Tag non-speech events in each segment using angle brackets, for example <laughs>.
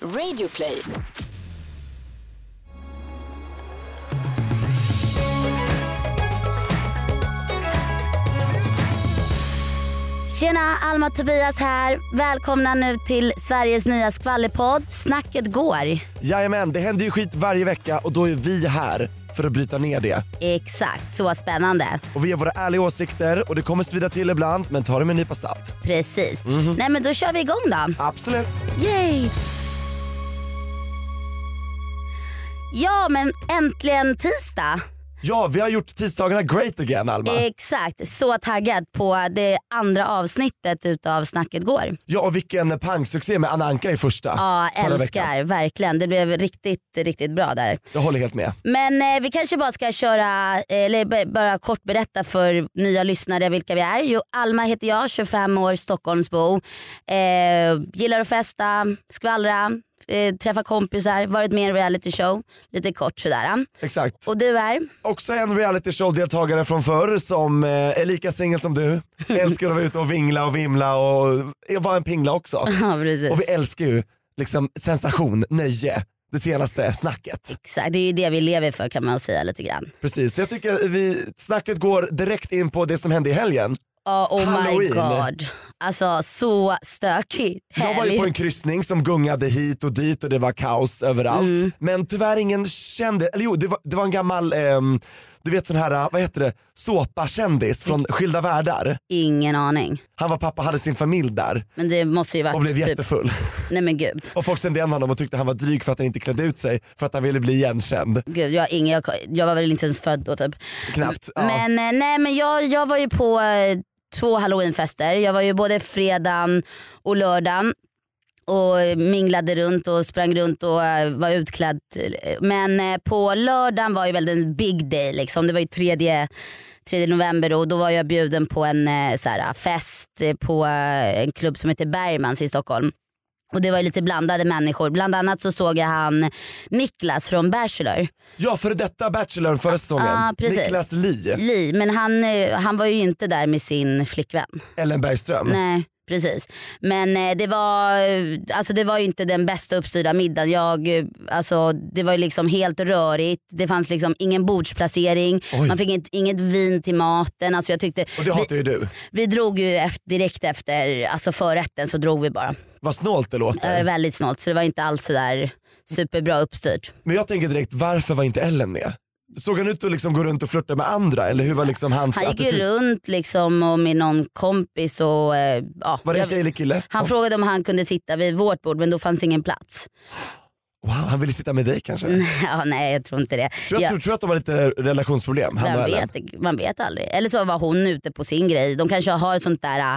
Radioplay. Tjena, Alma och Tobias här. Välkomna nu till Sveriges nya skvallerpodd Snacket går. Jajamän, det händer ju skit varje vecka och då är vi här för att bryta ner det. Exakt, så spännande. Och vi ger våra ärliga åsikter och det kommer svida till ibland men ta det med en nypa salt. Precis. Mhm. Nej men då kör vi igång då. Absolut. Yay! Ja men äntligen tisdag. Ja, vi har gjort tisdagarna great again Alma. Eh. Exakt, så taggad på det andra avsnittet utav Snacket går. Ja, och vilken pangsuccé med Anna Anka i första. Ja, förra veckan. älskar verkligen. Det blev riktigt, riktigt bra där. Jag håller helt med. Men eh, vi kanske bara ska köra, eh, eller b- bara kort berätta för nya lyssnare vilka vi är. Jo, Alma heter jag, 25 år, Stockholmsbo. Eh, gillar att festa, skvallra, eh, träffa kompisar, varit med i en reality show. Lite kort sådär. Exakt. Och du är? Också en reality show-deltagare från förr som eh, är lika singel <laughs> som du. Älskar att vara ute och vingla och vimla och eh, vara en pingla också. <laughs> Ja precis. Och vi älskar ju liksom sensation, nöje, det senaste snacket. Exakt, det är ju det vi lever för kan man säga lite grann. Precis, så jag tycker vi, snacket går direkt in på det som hände i helgen. Ja, oh my Halloween. god. Alltså så stökigt. Jag var ju på en kryssning som gungade hit och dit och det var kaos överallt. Mm. Men tyvärr ingen kände, eller jo det var, det var en gammal, ehm, du vet sån här, äh, vad heter det, såpakändis från Skilda Världar. Ingen aning. Han var pappa, hade sin familj där Men det måste ju varit och blev typ, <laughs> jättefull. nej men gud. Och folk kände igen honom och tyckte han var dryg för att han inte klädde ut sig för att han ville bli igenkänd. Gud, jag, har ingen, jag, jag var väl inte ens född då typ. Knappt. Ja. Men, eh, nej, men jag, jag var ju på eh, två halloweenfester. Jag var ju både fredagen och lördagen och minglade runt och sprang runt och eh, var utklädd. Men eh, på lördagen var ju väl den big day liksom. Det var ju tredje 3 november och då var jag bjuden på en eh, så här, fest eh, på eh, en klubb som heter Bergmans i Stockholm. Och det var ju lite blandade människor. Bland annat så såg jag han Niklas från Bachelor. Ja, före detta Bachelor förra säsongen. ah, precis. Niklas Li, Li, men han, eh, han var ju inte där med sin flickvän. Ellen Bergström. Nej. Precis. Men eh, det var, eh, alltså det var ju inte den bästa uppstyrda middagen. Jag, eh, alltså, det var ju liksom helt rörigt. Det fanns liksom ingen bordsplacering. Oj. Man fick inte, inget vin till maten. Alltså, jag tyckte, Och det hatar ju du. vi, vi drog ju efter, direkt efter alltså förrätten så drog vi bara. Vad snålt det låter. Det var väldigt snålt så det var inte alls sådär superbra uppstyrt. Men jag tänker direkt, varför var inte Ellen med? Såg han ut att liksom gå runt och flirta med andra eller hur var liksom hans Han gick ju attityd? runt liksom och med någon kompis och eh, ja. Var det en jag- tjej eller kille? Han frågade om han kunde sitta vid vårt bord men då fanns ingen plats. Wow, han ville sitta med dig kanske? <laughs> ja, nej jag tror inte det. Mm. Tror, jag, Ja, tror, tror att de har lite relationsproblem? Han och vem Ellen. vet, man vet aldrig. Eller så var hon ute på sin grej. De kanske har ett sånt där äh,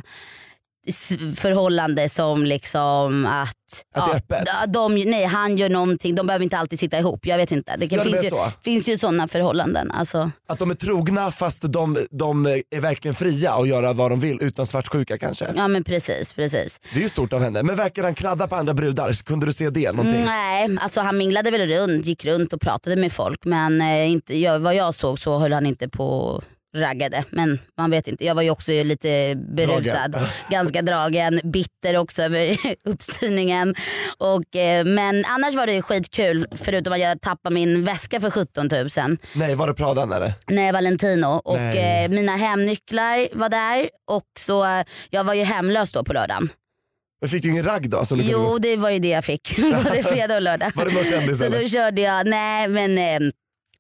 s- förhållande som liksom att... Att det är öppet? d- de, nej han gör någonting, de behöver inte alltid sitta ihop. Jag vet inte. Det kan, Ja, det finns, är ju, så. finns ju sådana förhållanden. Alltså, Att de är trogna fast de, de är verkligen fria och göra vad de vill utan svartsjuka kanske? ja men precis, precis. Det är ju stort av henne. Men verkar han kladda på andra brudar? Kunde du se det någonting? Nej, alltså han minglade väl runt, gick runt och pratade med folk men eh, inte, jag, vad jag såg så höll han inte på och raggade. Men man vet inte, jag var ju också lite berusad, Dragen. <laughs> ganska dragen, bitter också över <laughs> uppstyrningen. Och, eh, men annars var det ju skitkul förutom att jag tappade min väska för 17 000 Nej, var det Pradan eller? Nej, Valentino. Och Nej. eh, mina hemnycklar var där och så, eh, jag var ju hemlös då på lördagen. Men Fick du ingen ragg då? Som du kunde- Jo det var ju det jag fick. <laughs> Både fredag och lördag. Var det någon kändis, Så då eller? körde jag, nej men eh,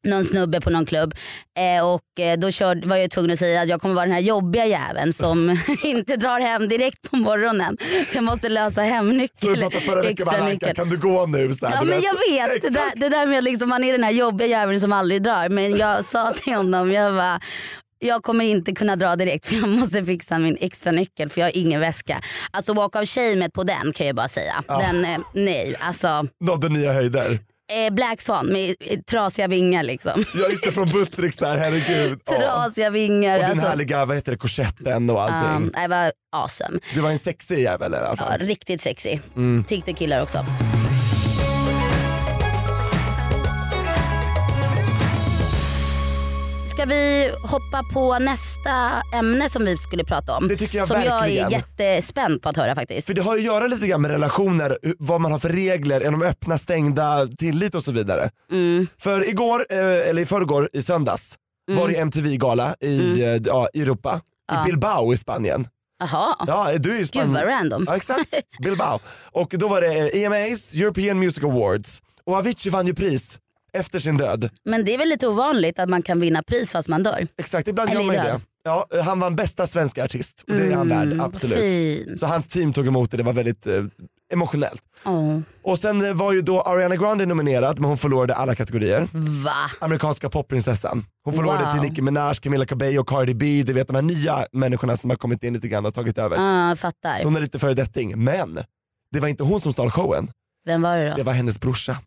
någon snubbe på någon klubb eh, och eh, då körde, var jag tvungen att säga att jag kommer vara den här jobbiga jäveln som <laughs> inte drar hem direkt på morgonen. Jag måste lösa Så du hemnyckeln. pratade förra veckan med Anna Anka, extranyckeln. kan du gå nu? Så här, Ja du men jag vet, det Alltså, Exakt. där, det där med att liksom, man är den här jobbiga jäveln som aldrig drar. Men <laughs> jag sa till honom, jag bara, jag kommer inte kunna dra direkt för jag måste fixa min extra nyckel för jag har ingen väska. Alltså walk of shamet på den kan jag bara säga. Den, eh, nej, alltså Nådde nya höjder. eh, Black Swan med eh, trasiga vingar liksom. Jag just det, från Buttricks där, herregud. Ja. <laughs> Trasiga vingar. Och den alltså. härliga, vad heter det, korsetten och allting. Ja, det var awesome. Du var en sexig jävel i alla Ja, fall. riktigt sexy. Mm. Tyckte killar också. ska vi hoppa på nästa ämne som vi skulle prata om? Det tycker jag som verkligen. jag är jättespänd på att höra faktiskt. För det har ju att göra lite grann med relationer, hu- vad man har för regler, är de öppna, stängda, tillit och så vidare. Mm. För igår, eh, eller i förrgår, i söndags, var det MTV-gala i eh, ja, i Europa, Mm. Ja. i Bilbao i Spanien. Jaha, Ja, du är ju gud vad spansk. random. <laughs> Ja exakt, Bilbao. Och då var det eh, EMAs, European Music Awards. Och Avicii vann ju pris efter sin död. Men det är väl lite ovanligt att man kan vinna pris fast man dör. Exakt, ibland gör Eller man ju död. det. Ja, eh, han vann bästa svenska artist och det är han Mm, värd, vad absolut. Fint. Så hans team tog emot det, det var väldigt eh, emotionellt. Åh, Och sen eh, var ju då Ariana Grande nominerad men hon förlorade alla kategorier. Va? Amerikanska popprinsessan. Hon förlorade Wow. till Nicki Minaj, Camila Cabello, Cardi B, du vet de här nya människorna som har kommit in lite grann och tagit över. Ah, fattar. Så hon är lite föredetting. Men det var inte hon som stal showen, Vem var det då? det var hennes brorsa.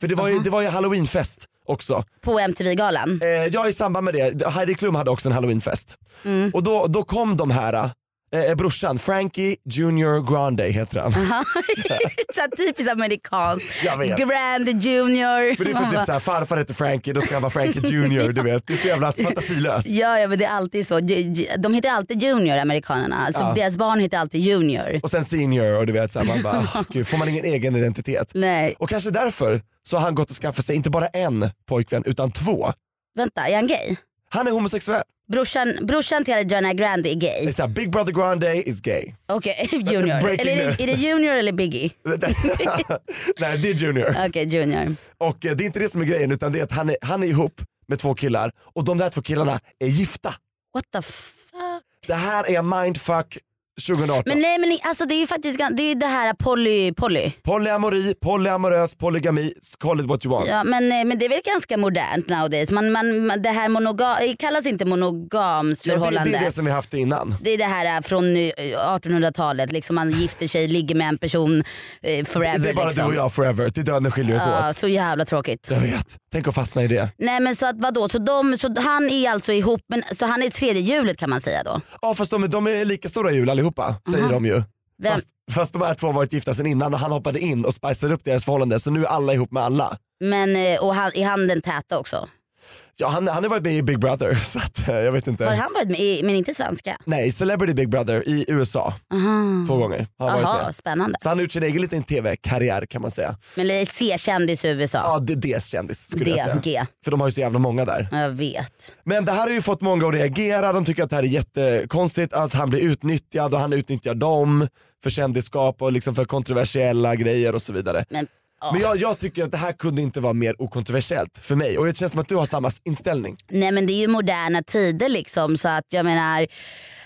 För det var ju, Aha. det var ju halloweenfest också. På <laughs> MTV-galan? Eh, ja i samband med det, Heidi Klum hade också en halloweenfest. Mm. Och då, då kom de här, eh, brorsan, Frankie Junior Grande heter han. Så här typiskt amerikanskt. Jag vet. Grand Junior. Men det är Man för bara, typ såhär, farfar heter Frankie, då ska han vara Frankie Junior, du vet. Det är så jävla fantasilöst. Ja, ja men det är alltid så. Ju- ju- De heter alltid Junior amerikanerna. Alltså, Ja. Deras barn heter alltid Junior. Och sen senior och du vet såhär, man bara, "Åh, gud, får man ingen egen identitet? Nej, Och kanske därför så har han gått och skaffat sig inte bara en pojkvän utan två. vänta är han gay? Han är homosexuell. Brorsan, brorsan till Ariana Grande är Det är gay. såhär, Big Brother Grande is gay. <laughs> Okej, <laughs> Junior. breaking Eller är news. det, är det Junior eller Biggie? Nej det är junior. Okej, Junior. Och eh, det är inte det som är grejen utan det är att han är, han är ihop med två killar och de där två killarna är gifta. What the fuck? Det här är mindfuck 2018. Men nej men alltså det är ju faktiskt gan- det, är ju det här poly, poly. Polyamori, polyamorös, polygami, call it what you want. Ja, men, eh, men det är väl ganska modernt nowadays. Man, man, man, det här monoga, eh, kallas inte monogams Ja, det, förhållande. det är det som vi haft innan. Det är det här eh, från eh, 1800-talet, liksom man gifter sig, ligger med en person eh, forever. det är bara liksom. du och jag forever, till döden skiljer oss Ja, åt. så jävla tråkigt. Jag vet, tänk att fastna i det. Nej men så att vadå, så, de, så han är alltså ihop, men, så han är tredje hjulet kan man säga då? Ja fast de, är- de är lika stora hjul allihopa, säger Aha. de ju. Vem- Fast, fast de här två har varit gifta sedan innan och han hoppade in och spiceade upp deras förhållande så nu är alla ihop med alla. Men, eh, och han, är han den täta också? Ja han, han har varit med i Big Brother <laughs> så att, eh, jag vet inte. Har han varit med, i- men inte svenska? Nej, Celebrity Big Brother i USA Aha. två gånger har han varit Mm. Aha, med. spännande. Så han har gjort sin egen liten tv-karriär kan man säga. Men C-kändis i USA. Ja, det det är kändis skulle jag D, säga. G. För de har ju så jävla många där. Ja, Jag vet. Men det här har ju fått många att reagera, de tycker att det här är jättekonstigt, att han blir utnyttjad och han utnyttjar dem för kändisskap och liksom för kontroversiella grejer och så vidare. Men, ja. Men jag, jag tycker att det här kunde inte vara mer okontroversiellt för mig och det känns som att du har samma inställning. Nej men det är ju moderna tider liksom så att jag menar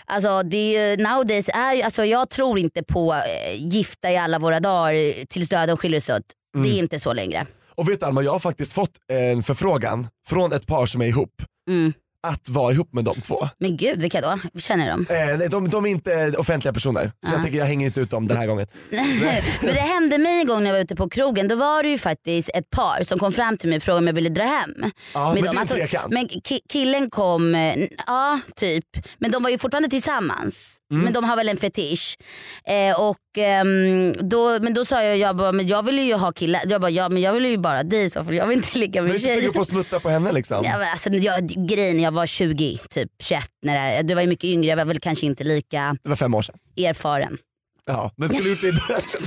Alltså det är ju, nowadays är ju, alltså jag tror inte på eh, gifta i alla våra dagar eh, tills döden skiljer sig åt. Det är inte så längre. Och vet du Alma, jag har faktiskt fått en förfrågan från ett par som är ihop Mm. att vara ihop med de två. Men gud vilka då? Känner jag dem? Eh, nej, de, de är inte offentliga personer så jag Ah. tänker jag hänger inte ut dem den här gången. <laughs> Men det hände mig en gång när jag var ute på krogen. Då var det ju faktiskt ett par som kom fram till mig och frågade om jag ville dra hem. Ja, men det är en alltså, trekant. men ki- killen kom, eh, n- ja typ. Men de var ju fortfarande tillsammans. Mm. Men de har väl en fetisch. Eh, och, ehm, då, men då sa jag, jag, bara, men jag ville ju ha killar. Jag bara, ja men jag ville ju bara dig i så fall. Jag vill inte ligga Men du är med inte <laughs> sugen tjejer. på att smutta på henne liksom? Ja, men alltså, jag, grejen jag var 20, typ 21 när det här, du var ju mycket yngre, jag var väl kanske inte lika Det var fem år sedan. <laughs> erfaren. Ja, men skulle du gjort det, idag-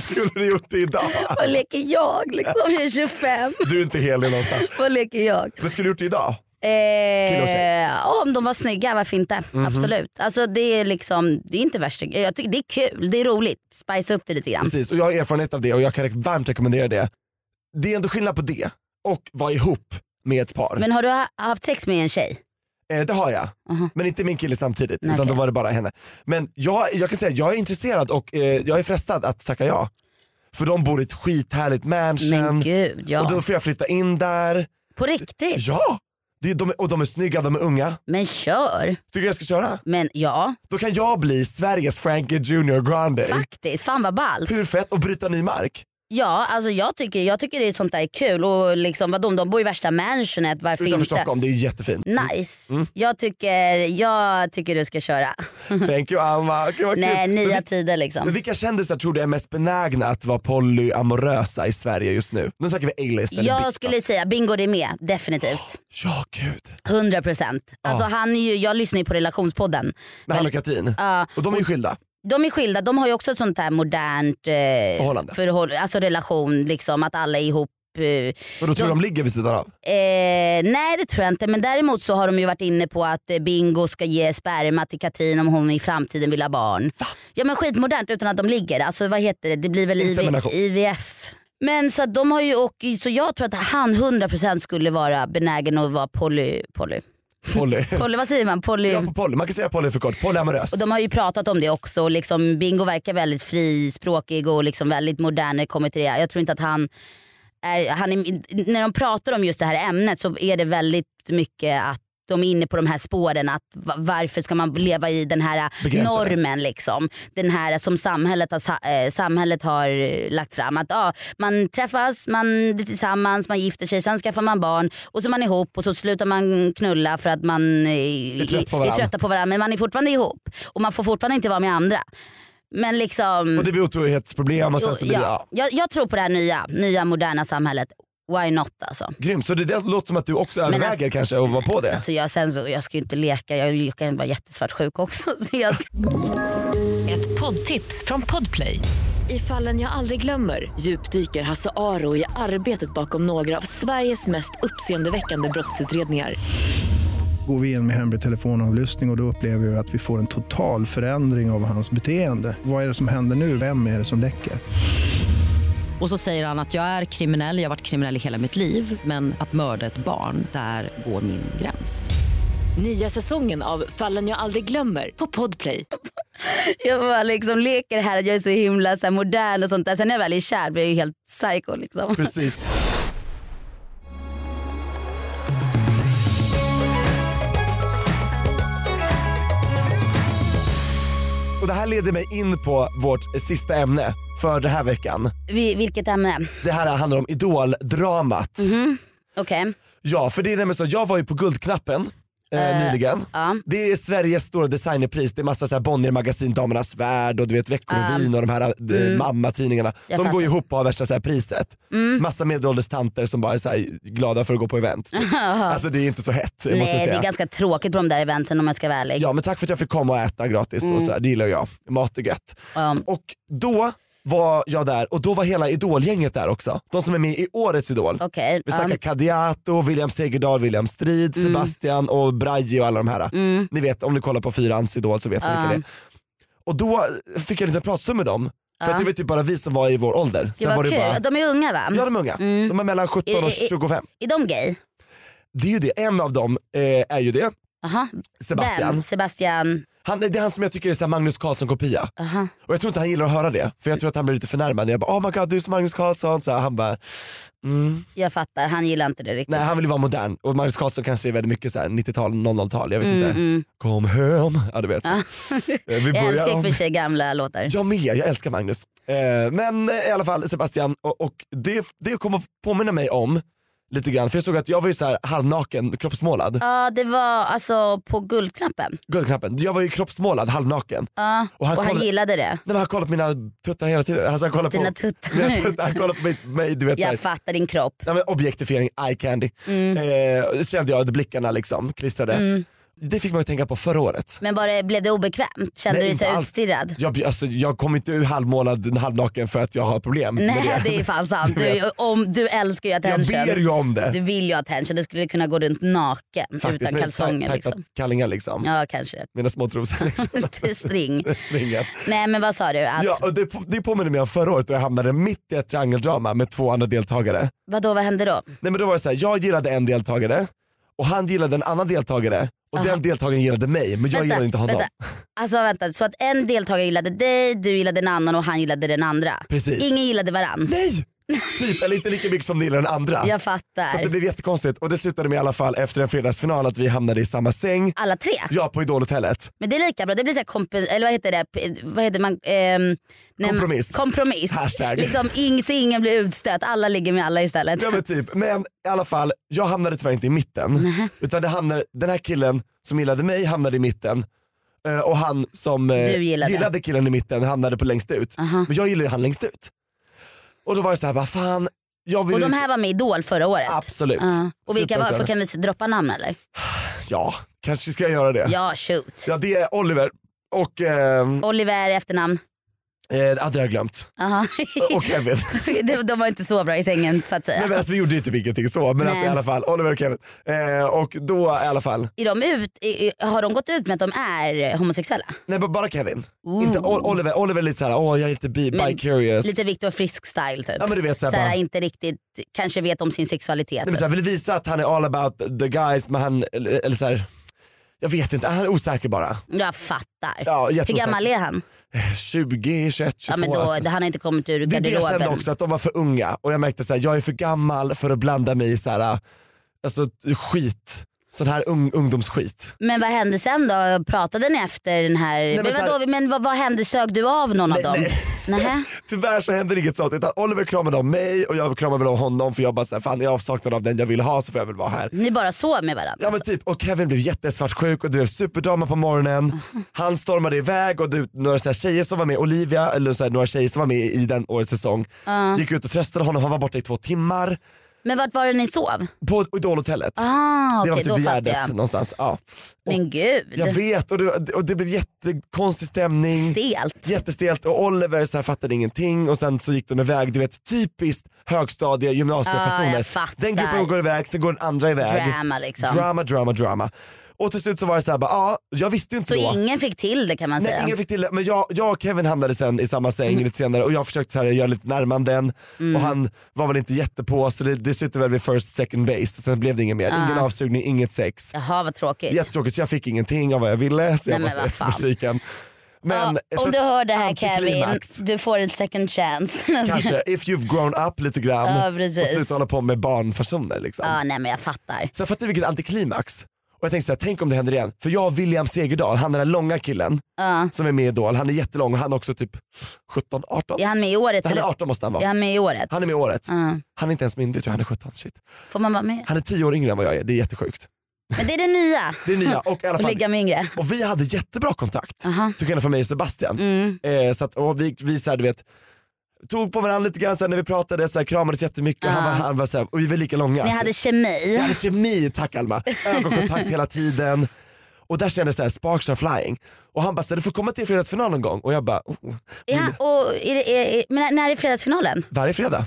<laughs> skulle du gjort det idag? Vad leker jag liksom? Jag är 25. Du är inte hel i någonstans. Vad leker jag? Men skulle du gjort det idag? Kille och tjej. Mhm. Eh, ja, om de var snygga, varför inte? Absolut. Alltså, det, är liksom, det är inte värst. Jag tycker det är kul, det är roligt. Spice upp det lite grann. Precis, och jag har erfarenhet av det och jag kan varmt rekommendera det. Det är ändå skillnad på det och vara ihop med ett par. Men har du ha- haft sex med en tjej? Eh, det har jag, Aha. men inte min kille samtidigt Nej, utan då okej. var det bara henne. Men jag, jag kan säga att jag är intresserad och eh, jag är frestad att tacka ja. För de bor i ett skithärligt Men mansion gud och ja. då får jag flytta in där. På riktigt? Ja! Det är, de, är- och de är snygga, de är unga. Men kör. Tycker jag ska köra? Men ja, Då kan jag bli Sveriges Frankie Junior Grande. faktiskt. Fan vad ballt. Hur fett och bryta ny mark. Ja, alltså jag tycker, jag tycker det är sånt där är kul. Och liksom, vadå, om de bor i värsta mansionet, varför Utanför inte? Stockholm, Mm. det är jättefint. Nice. Jag, tycker, jag tycker du ska köra. Thank you Alma. Gud, vad Mm. Nej, kul. Men nya vi- tider liksom. Men vilka kändisar tror du är mest benägna att vara polyamorösa i Sverige just nu? Nu snackar vi A-list eller Jag B- skulle säga Bingo det är med, definitivt. Ja gud. 100 procent. Ah. Alltså, han är ju, jag lyssnar ju på relationspodden. Med Hanna och Katrin. Ja. Och de är ju skilda. De är skilda, de har ju också ett sånt här modernt eh, Förhållande. förhåll- alltså relation, liksom, att alla är ihop. Eh, Och då tror de ligger vid sidan av. Eh, nej det tror jag inte men däremot så har de ju varit inne på att eh, Bingo ska ge sperma till Katrin om hon i framtiden vill ha barn. Ja men skitmodernt utan att de ligger. Alltså vad heter det? Det blir väl IV, Insemination. IVF. Men så att de har ju och så jag tror att han 100% skulle vara benägen att vara poly, poly. <laughs> Poly. Poly vad säger man? Poly. Ja, på poly. Man kan säga poly för kort. Polyamorös. Och de har ju pratat om det också. Och liksom, Bingo verkar väldigt frispråkig och liksom väldigt modern när det kommer till det. Jag tror inte att han är, han är... När de pratar om just det här ämnet så är det väldigt mycket att de är inne på de här spåren. Att va- varför ska man leva i den här Begränsade. normen? Liksom. Den här som samhället har, sa- eh, samhället har eh, lagt fram. Att ja, Man träffas, man är tillsammans, man gifter sig, sen skaffar man barn och så är man ihop och så slutar man knulla för att man eh, är trött på varandra. trötta på varandra. Men man är fortfarande ihop och man får fortfarande inte vara med andra. Men liksom... Och det blir otrohetsproblem och sen Jo, så blir det, ja. Jag, jag tror på det här nya, nya moderna samhället. Why not alltså? Grymt, så det, det låter som att du också överväger alltså- kanske att vara på <laughs> det. alltså jag, sen så, jag ska ju inte leka, jag, jag kan vara jättesvartsjuk också. <laughs> Så jag ska... Ett poddtips från Podplay. I fallen jag aldrig glömmer djupdyker Hasse Aro i arbetet bakom några av Sveriges mest uppseendeväckande brottsutredningar. går vi in med hemlig telefonavlyssning och, och då upplever vi att vi får en total förändring av hans beteende. Vad är det som händer nu? Vem är det som läcker? Och så säger han att jag är kriminell, jag har varit kriminell i hela mitt liv men att mörda ett barn, där går min gräns. Nya säsongen av Fallen jag aldrig glömmer på Podplay. Jag bara liksom leker här att jag är så himla så här, modern och sånt där. Sen när jag väl är kär blir jag ju helt psycho liksom. Precis. Och det här leder mig in på vårt sista ämne för den här veckan. Vi, vilket ämne? Det här handlar om idoldramat. Okej. Ja, för det är nämligen så, jag var ju på Guldknappen eh, nyligen. ja. Det är Sveriges stora designerpris, det är massa så här Bonnier magasin, Damernas Värld och du vet Veckorevyn och de här eh, mammatidningarna. Mm. Jag De fattar. Mm. går ju ihop och har värsta så här priset. Massa medelålders tanter som bara är så här glada för att gå på event. alltså det är inte så hett måste jag Nej det säga. är ganska tråkigt på de där eventen om jag ska vara ärlig. Ja men tack för att jag fick komma och äta gratis Mm. och så här, det gillar jag. Mat är gött. Ja. Och då var jag där och då var hela idolgänget där också. De som är med i årets idol. Okej. um, Vi ja. snackar Mm. Kadiato, William Segerdahl, William Strid, Sebastian och Braje och alla de här. Ni vet, om ni kollar på Fyrans Idol så vet ni vilka det är. Och då fick jag en liten pratstund med dem. För att det var typ bara vi som var i vår ålder. Det var, kul. bara, De Mm. Eh, är unga va? ja de är unga. De är mellan 17 I- och i- 25. Är de gay? Det är ju det, en av dem eh, är ju det. Aha. Sebastian. Vem? Sebastian. Han, det är han som jag tycker är så här Magnus Carlsson-kopia. Aha. Och jag tror inte han gillar att höra det. För jag tror att han blir lite förnärmad. Jag bara oh my god du är som Magnus Carlsson. Så här, han bara mm. Jag fattar, han gillar inte det riktigt. Nej han vill ju vara modern och Magnus Carlsson kanske är väldigt mycket så här 90-tal, 00-tal, jag Mm, vet inte. Kom hem, ja du vet. Så. <laughs> Eh, Vi Ah. jag börjar älskar i och om. för sig gamla låtar. Jag med, jag älskar Magnus. Eh, men eh, i alla fall Sebastian, och, och det, det kommer att påminna mig om lite grann, för jag såg att jag var ju så här halvnaken, kroppsmålad. Ja det var alltså på guldknappen. Guldknappen, jag var ju kroppsmålad, halvnaken. Ja, Och och han han, kollade- gillade det. Nej, men han kollade på mina tuttar hela tiden. Alltså, han kollade Dina på, tuttar. <laughs> Mina tuttar. Han kollade på mig, mig du vet så här. Jag fattar din kropp. Nej, men objektifiering, eye candy. Mm. Eh, det kände jag att blickarna liksom klistrade. Det fick man ju tänka på förra året. Men var det, blev det obekvämt? Kände du Nej, dig inte så alls. utstirrad? Jag, blir- alltså, jag kommer inte ur halvmålad halvnaken för att jag har problem Nej med det. det är fan sant. <laughs> Du, om, du älskar ju jag attention. ber ju om det. Du vill ju ha attention. Du skulle kunna gå runt naken faktiskt, utan med kalsonger. tajta Liksom. kallingar liksom. Ja kanske <laughs> det. Mina små trosor liksom. String. Stringen. Nej men vad sa du? Att, Ja, och det, det påminner mig om förra året då jag hamnade mitt i ett triangeldrama med två andra deltagare. Vadå vad hände då? Nej men då var det så här, jag gillade en deltagare och han gillade en annan deltagare och den deltagaren gillade mig men jag gillade inte honom. vänta. Alltså vänta, så att en deltagare gillade dig, du gillade en annan och han gillade den andra. Precis. Ingen gillade varann. <laughs> Nej! Typ, eller inte lika mycket som ni eller den andra. Jag Så att det fattar. blev jättekonstigt och det slutade med i alla fall efter en fredagsfinal att vi hamnade i samma säng. Alla tre. Ja, på Idolhotellet. Men det är lika bra, det blir så här komp- eller vad heter det? P- Vad heter man? Ehm, när man- Kompromiss. kompromiss. Hashtag. Liksom, ing, så ingen blir utstött, alla ligger med alla istället. Ja men typ, men i alla fall, jag hamnade tyvärr inte i mitten. Utan det hamnade, den här killen som gillade mig hamnade i mitten. Eh, och han som eh, Du gillade. Ah. killen i mitten hamnade på längst ut. Aha. Men jag gillade ju han längst ut. Och då var det så här, vad fan. Jag vill Och ju de inte- här var med i Idol förra året? Absolut. Ja. Och vilka var? För Superettan. kan vi droppa namn eller? Ja, kanske ska jag göra det. Ja, Ja, shoot. det är Oliver. Och, eh, Oliver i efternamn. eh, det hade jag glömt. Aha. <laughs> Och Kevin. de, de var inte så bra i sängen så att säga. Nej, men alltså, vi gjorde ju typ ingenting så. Men alltså, Nej. i alla fall, Oliver och Kevin. Eh, och då i alla fall, Är de ut, i- i- har de gått ut med att de är homosexuella? nej men bara Kevin. Ooh. Inte O- Oliver, Oliver är lite såhär, åh jag är lite bi- Men bi-curious. Lite Viktor Frisk style typ. Ja men du vet såhär, Såhär, bara, nej, inte riktigt, kanske vet om sin sexualitet. men typ. såhär, vill visa att han är all about the guys men han, eller, eller såhär, jag vet inte, han är osäker bara. typ. Jag fattar. Ja, Hur jätteosäker. gammal är han? 20, 21, 22 Ja, men då, alltså. Han har inte kommit ur Det är det jag garderoben. kände också, att de var för unga och jag märkte såhär, jag är för gammal för att blanda mig i såhär, alltså skit. Sån här ung, ungdomsskit. Men vad hände sen då? Pratade ni efter den här... men men så här- vadå, men vad, vad hände? Sög du av någon Nej, av dem? nej. Nähä? Tyvärr så hände det inget sånt utan Oliver kramade om mig och jag kramade väl om honom för jag bara såhär, fan jag är i avsaknad av den jag vill ha så får jag väl vara här. Ni bara sov med varandra? Ja men typ, och Kevin blev jättesvartsjuk och det blev superdrama på morgonen. Han stormade iväg och du, några så här tjejer som var med, Olivia, eller så här, några tjejer som var med i den årets säsong, gick ut och tröstade honom. Han var borta i två timmar Men vart var det ni sov? på Idolhotellet. Ah, det var okej typ då vid fattar Gärdet jag. någonstans. Ja. Men gud. Jag vet och det, och det blev jättekonstig stämning. Stelt. Jättestelt och Oliver så här fattade ingenting och sen så gick de iväg, du vet typiskt högstadie Ah, gymnasiefasoner. jag fattar. den gruppen går iväg, sen går den andra iväg. Drama liksom. Drama, drama, drama. Och till slut så var det såhär, bara, ja, jag visste ju inte Så då. ingen fick till det kan man Nej, säga. ingen fick till det. Men jag, jag och Kevin hamnade sen i samma säng Mm. lite senare och jag försökte så här, göra lite närmanden och han var väl inte jättepå så det, det slutade väl vid first second base. Sen blev det inget mer. Ah. Ingen avsugning, inget sex. Jaha vad tråkigt. Jättetråkigt så jag fick ingenting av vad jag ville så jag Nej, var men vad så fan. besviken. Men, ja, så om du hör det här Kevin, antiklimax. du får en second chance. <laughs> Kanske, if you've grown up lite Ja, grann precis. och sluta hålla på med barnfasoner liksom. Ja, nej men jag fattar. Sen fattar du vilket antiklimax. Och jag tänkte såhär, tänk om det händer igen. För jag och William Segerdahl, han den där långa killen Ja. som är med i Idol, han är jättelång och han är också typ 17, 18. Är han med i året? Han är eller? 18 måste han vara. Är han med i året? Han är med i året. Ja. Han är inte ens myndig tror jag, han är 17. Shit. Får man vara med? Han är 10 år yngre än vad jag är, det är jättesjukt. Men det är det <laughs> nya. Det är nya och i alla Att fall, ligga med yngre. och vi hade jättebra kontakt. Aha. Till skillnad från mig och Sebastian. Mm. Eh, så att, och vi, vi så här, du vet, tog på varandra lite grann så här, när vi pratade, så här, kramades jättemycket och han Ja. var, han var så här, och vi var lika långa. Ni Så- hade Vi kemi. Alltså, hade kemi, tack Alma. Ögonkontakt hela tiden. Och där kändes det här, sparks are flying. Och han bara, så här, du får komma till fredagsfinal någon gång. Och jag bara, oh. Ja, och är det, är, är, men när är fredagsfinalen? varje fredag.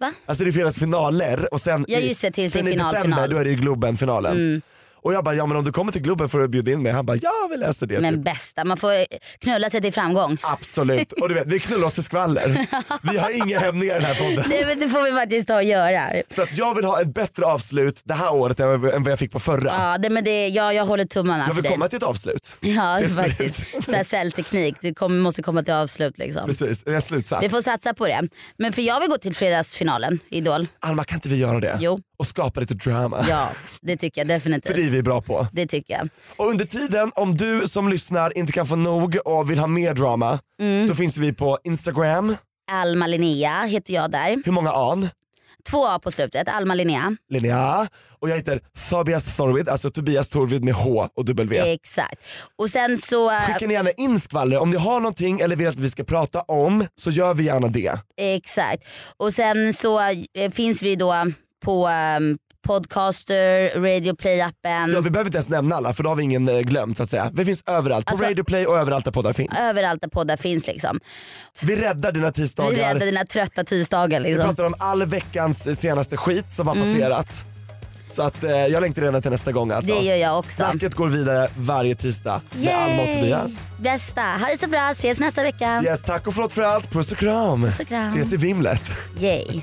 Va? Alltså det är fredagsfinaler och sen Ja i- just det, Mm. tills det är Sen i final, december final. då är det ju Globen-finalen. Och jag bara, ja men om du kommer till Globen får du bjuda in mig. Han bara, ja vi löser det. Men Typ. bästa, man får knulla sig till framgång. <laughs> Absolut. Och du vet, vi knullar oss till skvaller. Vi har inga hämningar i den här podden. Nej men det får vi faktiskt ta och göra. Så att jag vill ha ett bättre avslut det här året än vad än vad jag fick på förra. Ja, det, men det, ja jag håller tummarna jag för vill dig. komma till ett avslut. Ja till faktiskt. Så här cellteknik, du kommer, måste komma till avslut liksom. Precis, en slutsats. Vi får satsa på det. Men för jag vill gå till fredagsfinalen, Idol. Alma kan inte vi göra det? Jo. Och skapa lite drama. Ja det tycker jag För det definitivt. är vi bra på. Det tycker jag. Och under tiden, om du som lyssnar inte kan få nog och vill ha mer drama, Mm. då finns vi på Instagram. Alma Linnea heter jag där. Hur många an? Två A på slutet, Alma Linnea. Linnea. Och jag heter Tobias Thorvid, alltså Tobias Thorvid med H och W. Exakt. Och sen så, eh, Skicka ni gärna in skvaller om ni har någonting eller vill att vi ska prata om så gör vi gärna det. exakt. Och sen så eh, finns vi då på eh, Podcaster, Radio Play appen. Ja, vi behöver inte ens nämna alla för då har vi ingen eh, glömt så att säga. Vi finns överallt, på Alltså- Radio Play och överallt där poddar finns. Överallt där poddar finns liksom. Vi räddar dina Vi tisdagar. räddar dina trötta tisdagar Vi liksom. pratar om all veckans eh, senaste skit som har Mm. passerat. Så att eh, jag längtar redan till nästa gång alltså. Det gör jag också. Snacket går vidare varje tisdag med Alma och Tobias. Bästa, ha det så bra, ses nästa vecka. Yes, tack och förlåt för allt. Puss och kram. och kram. Ses i vimlet. Yay.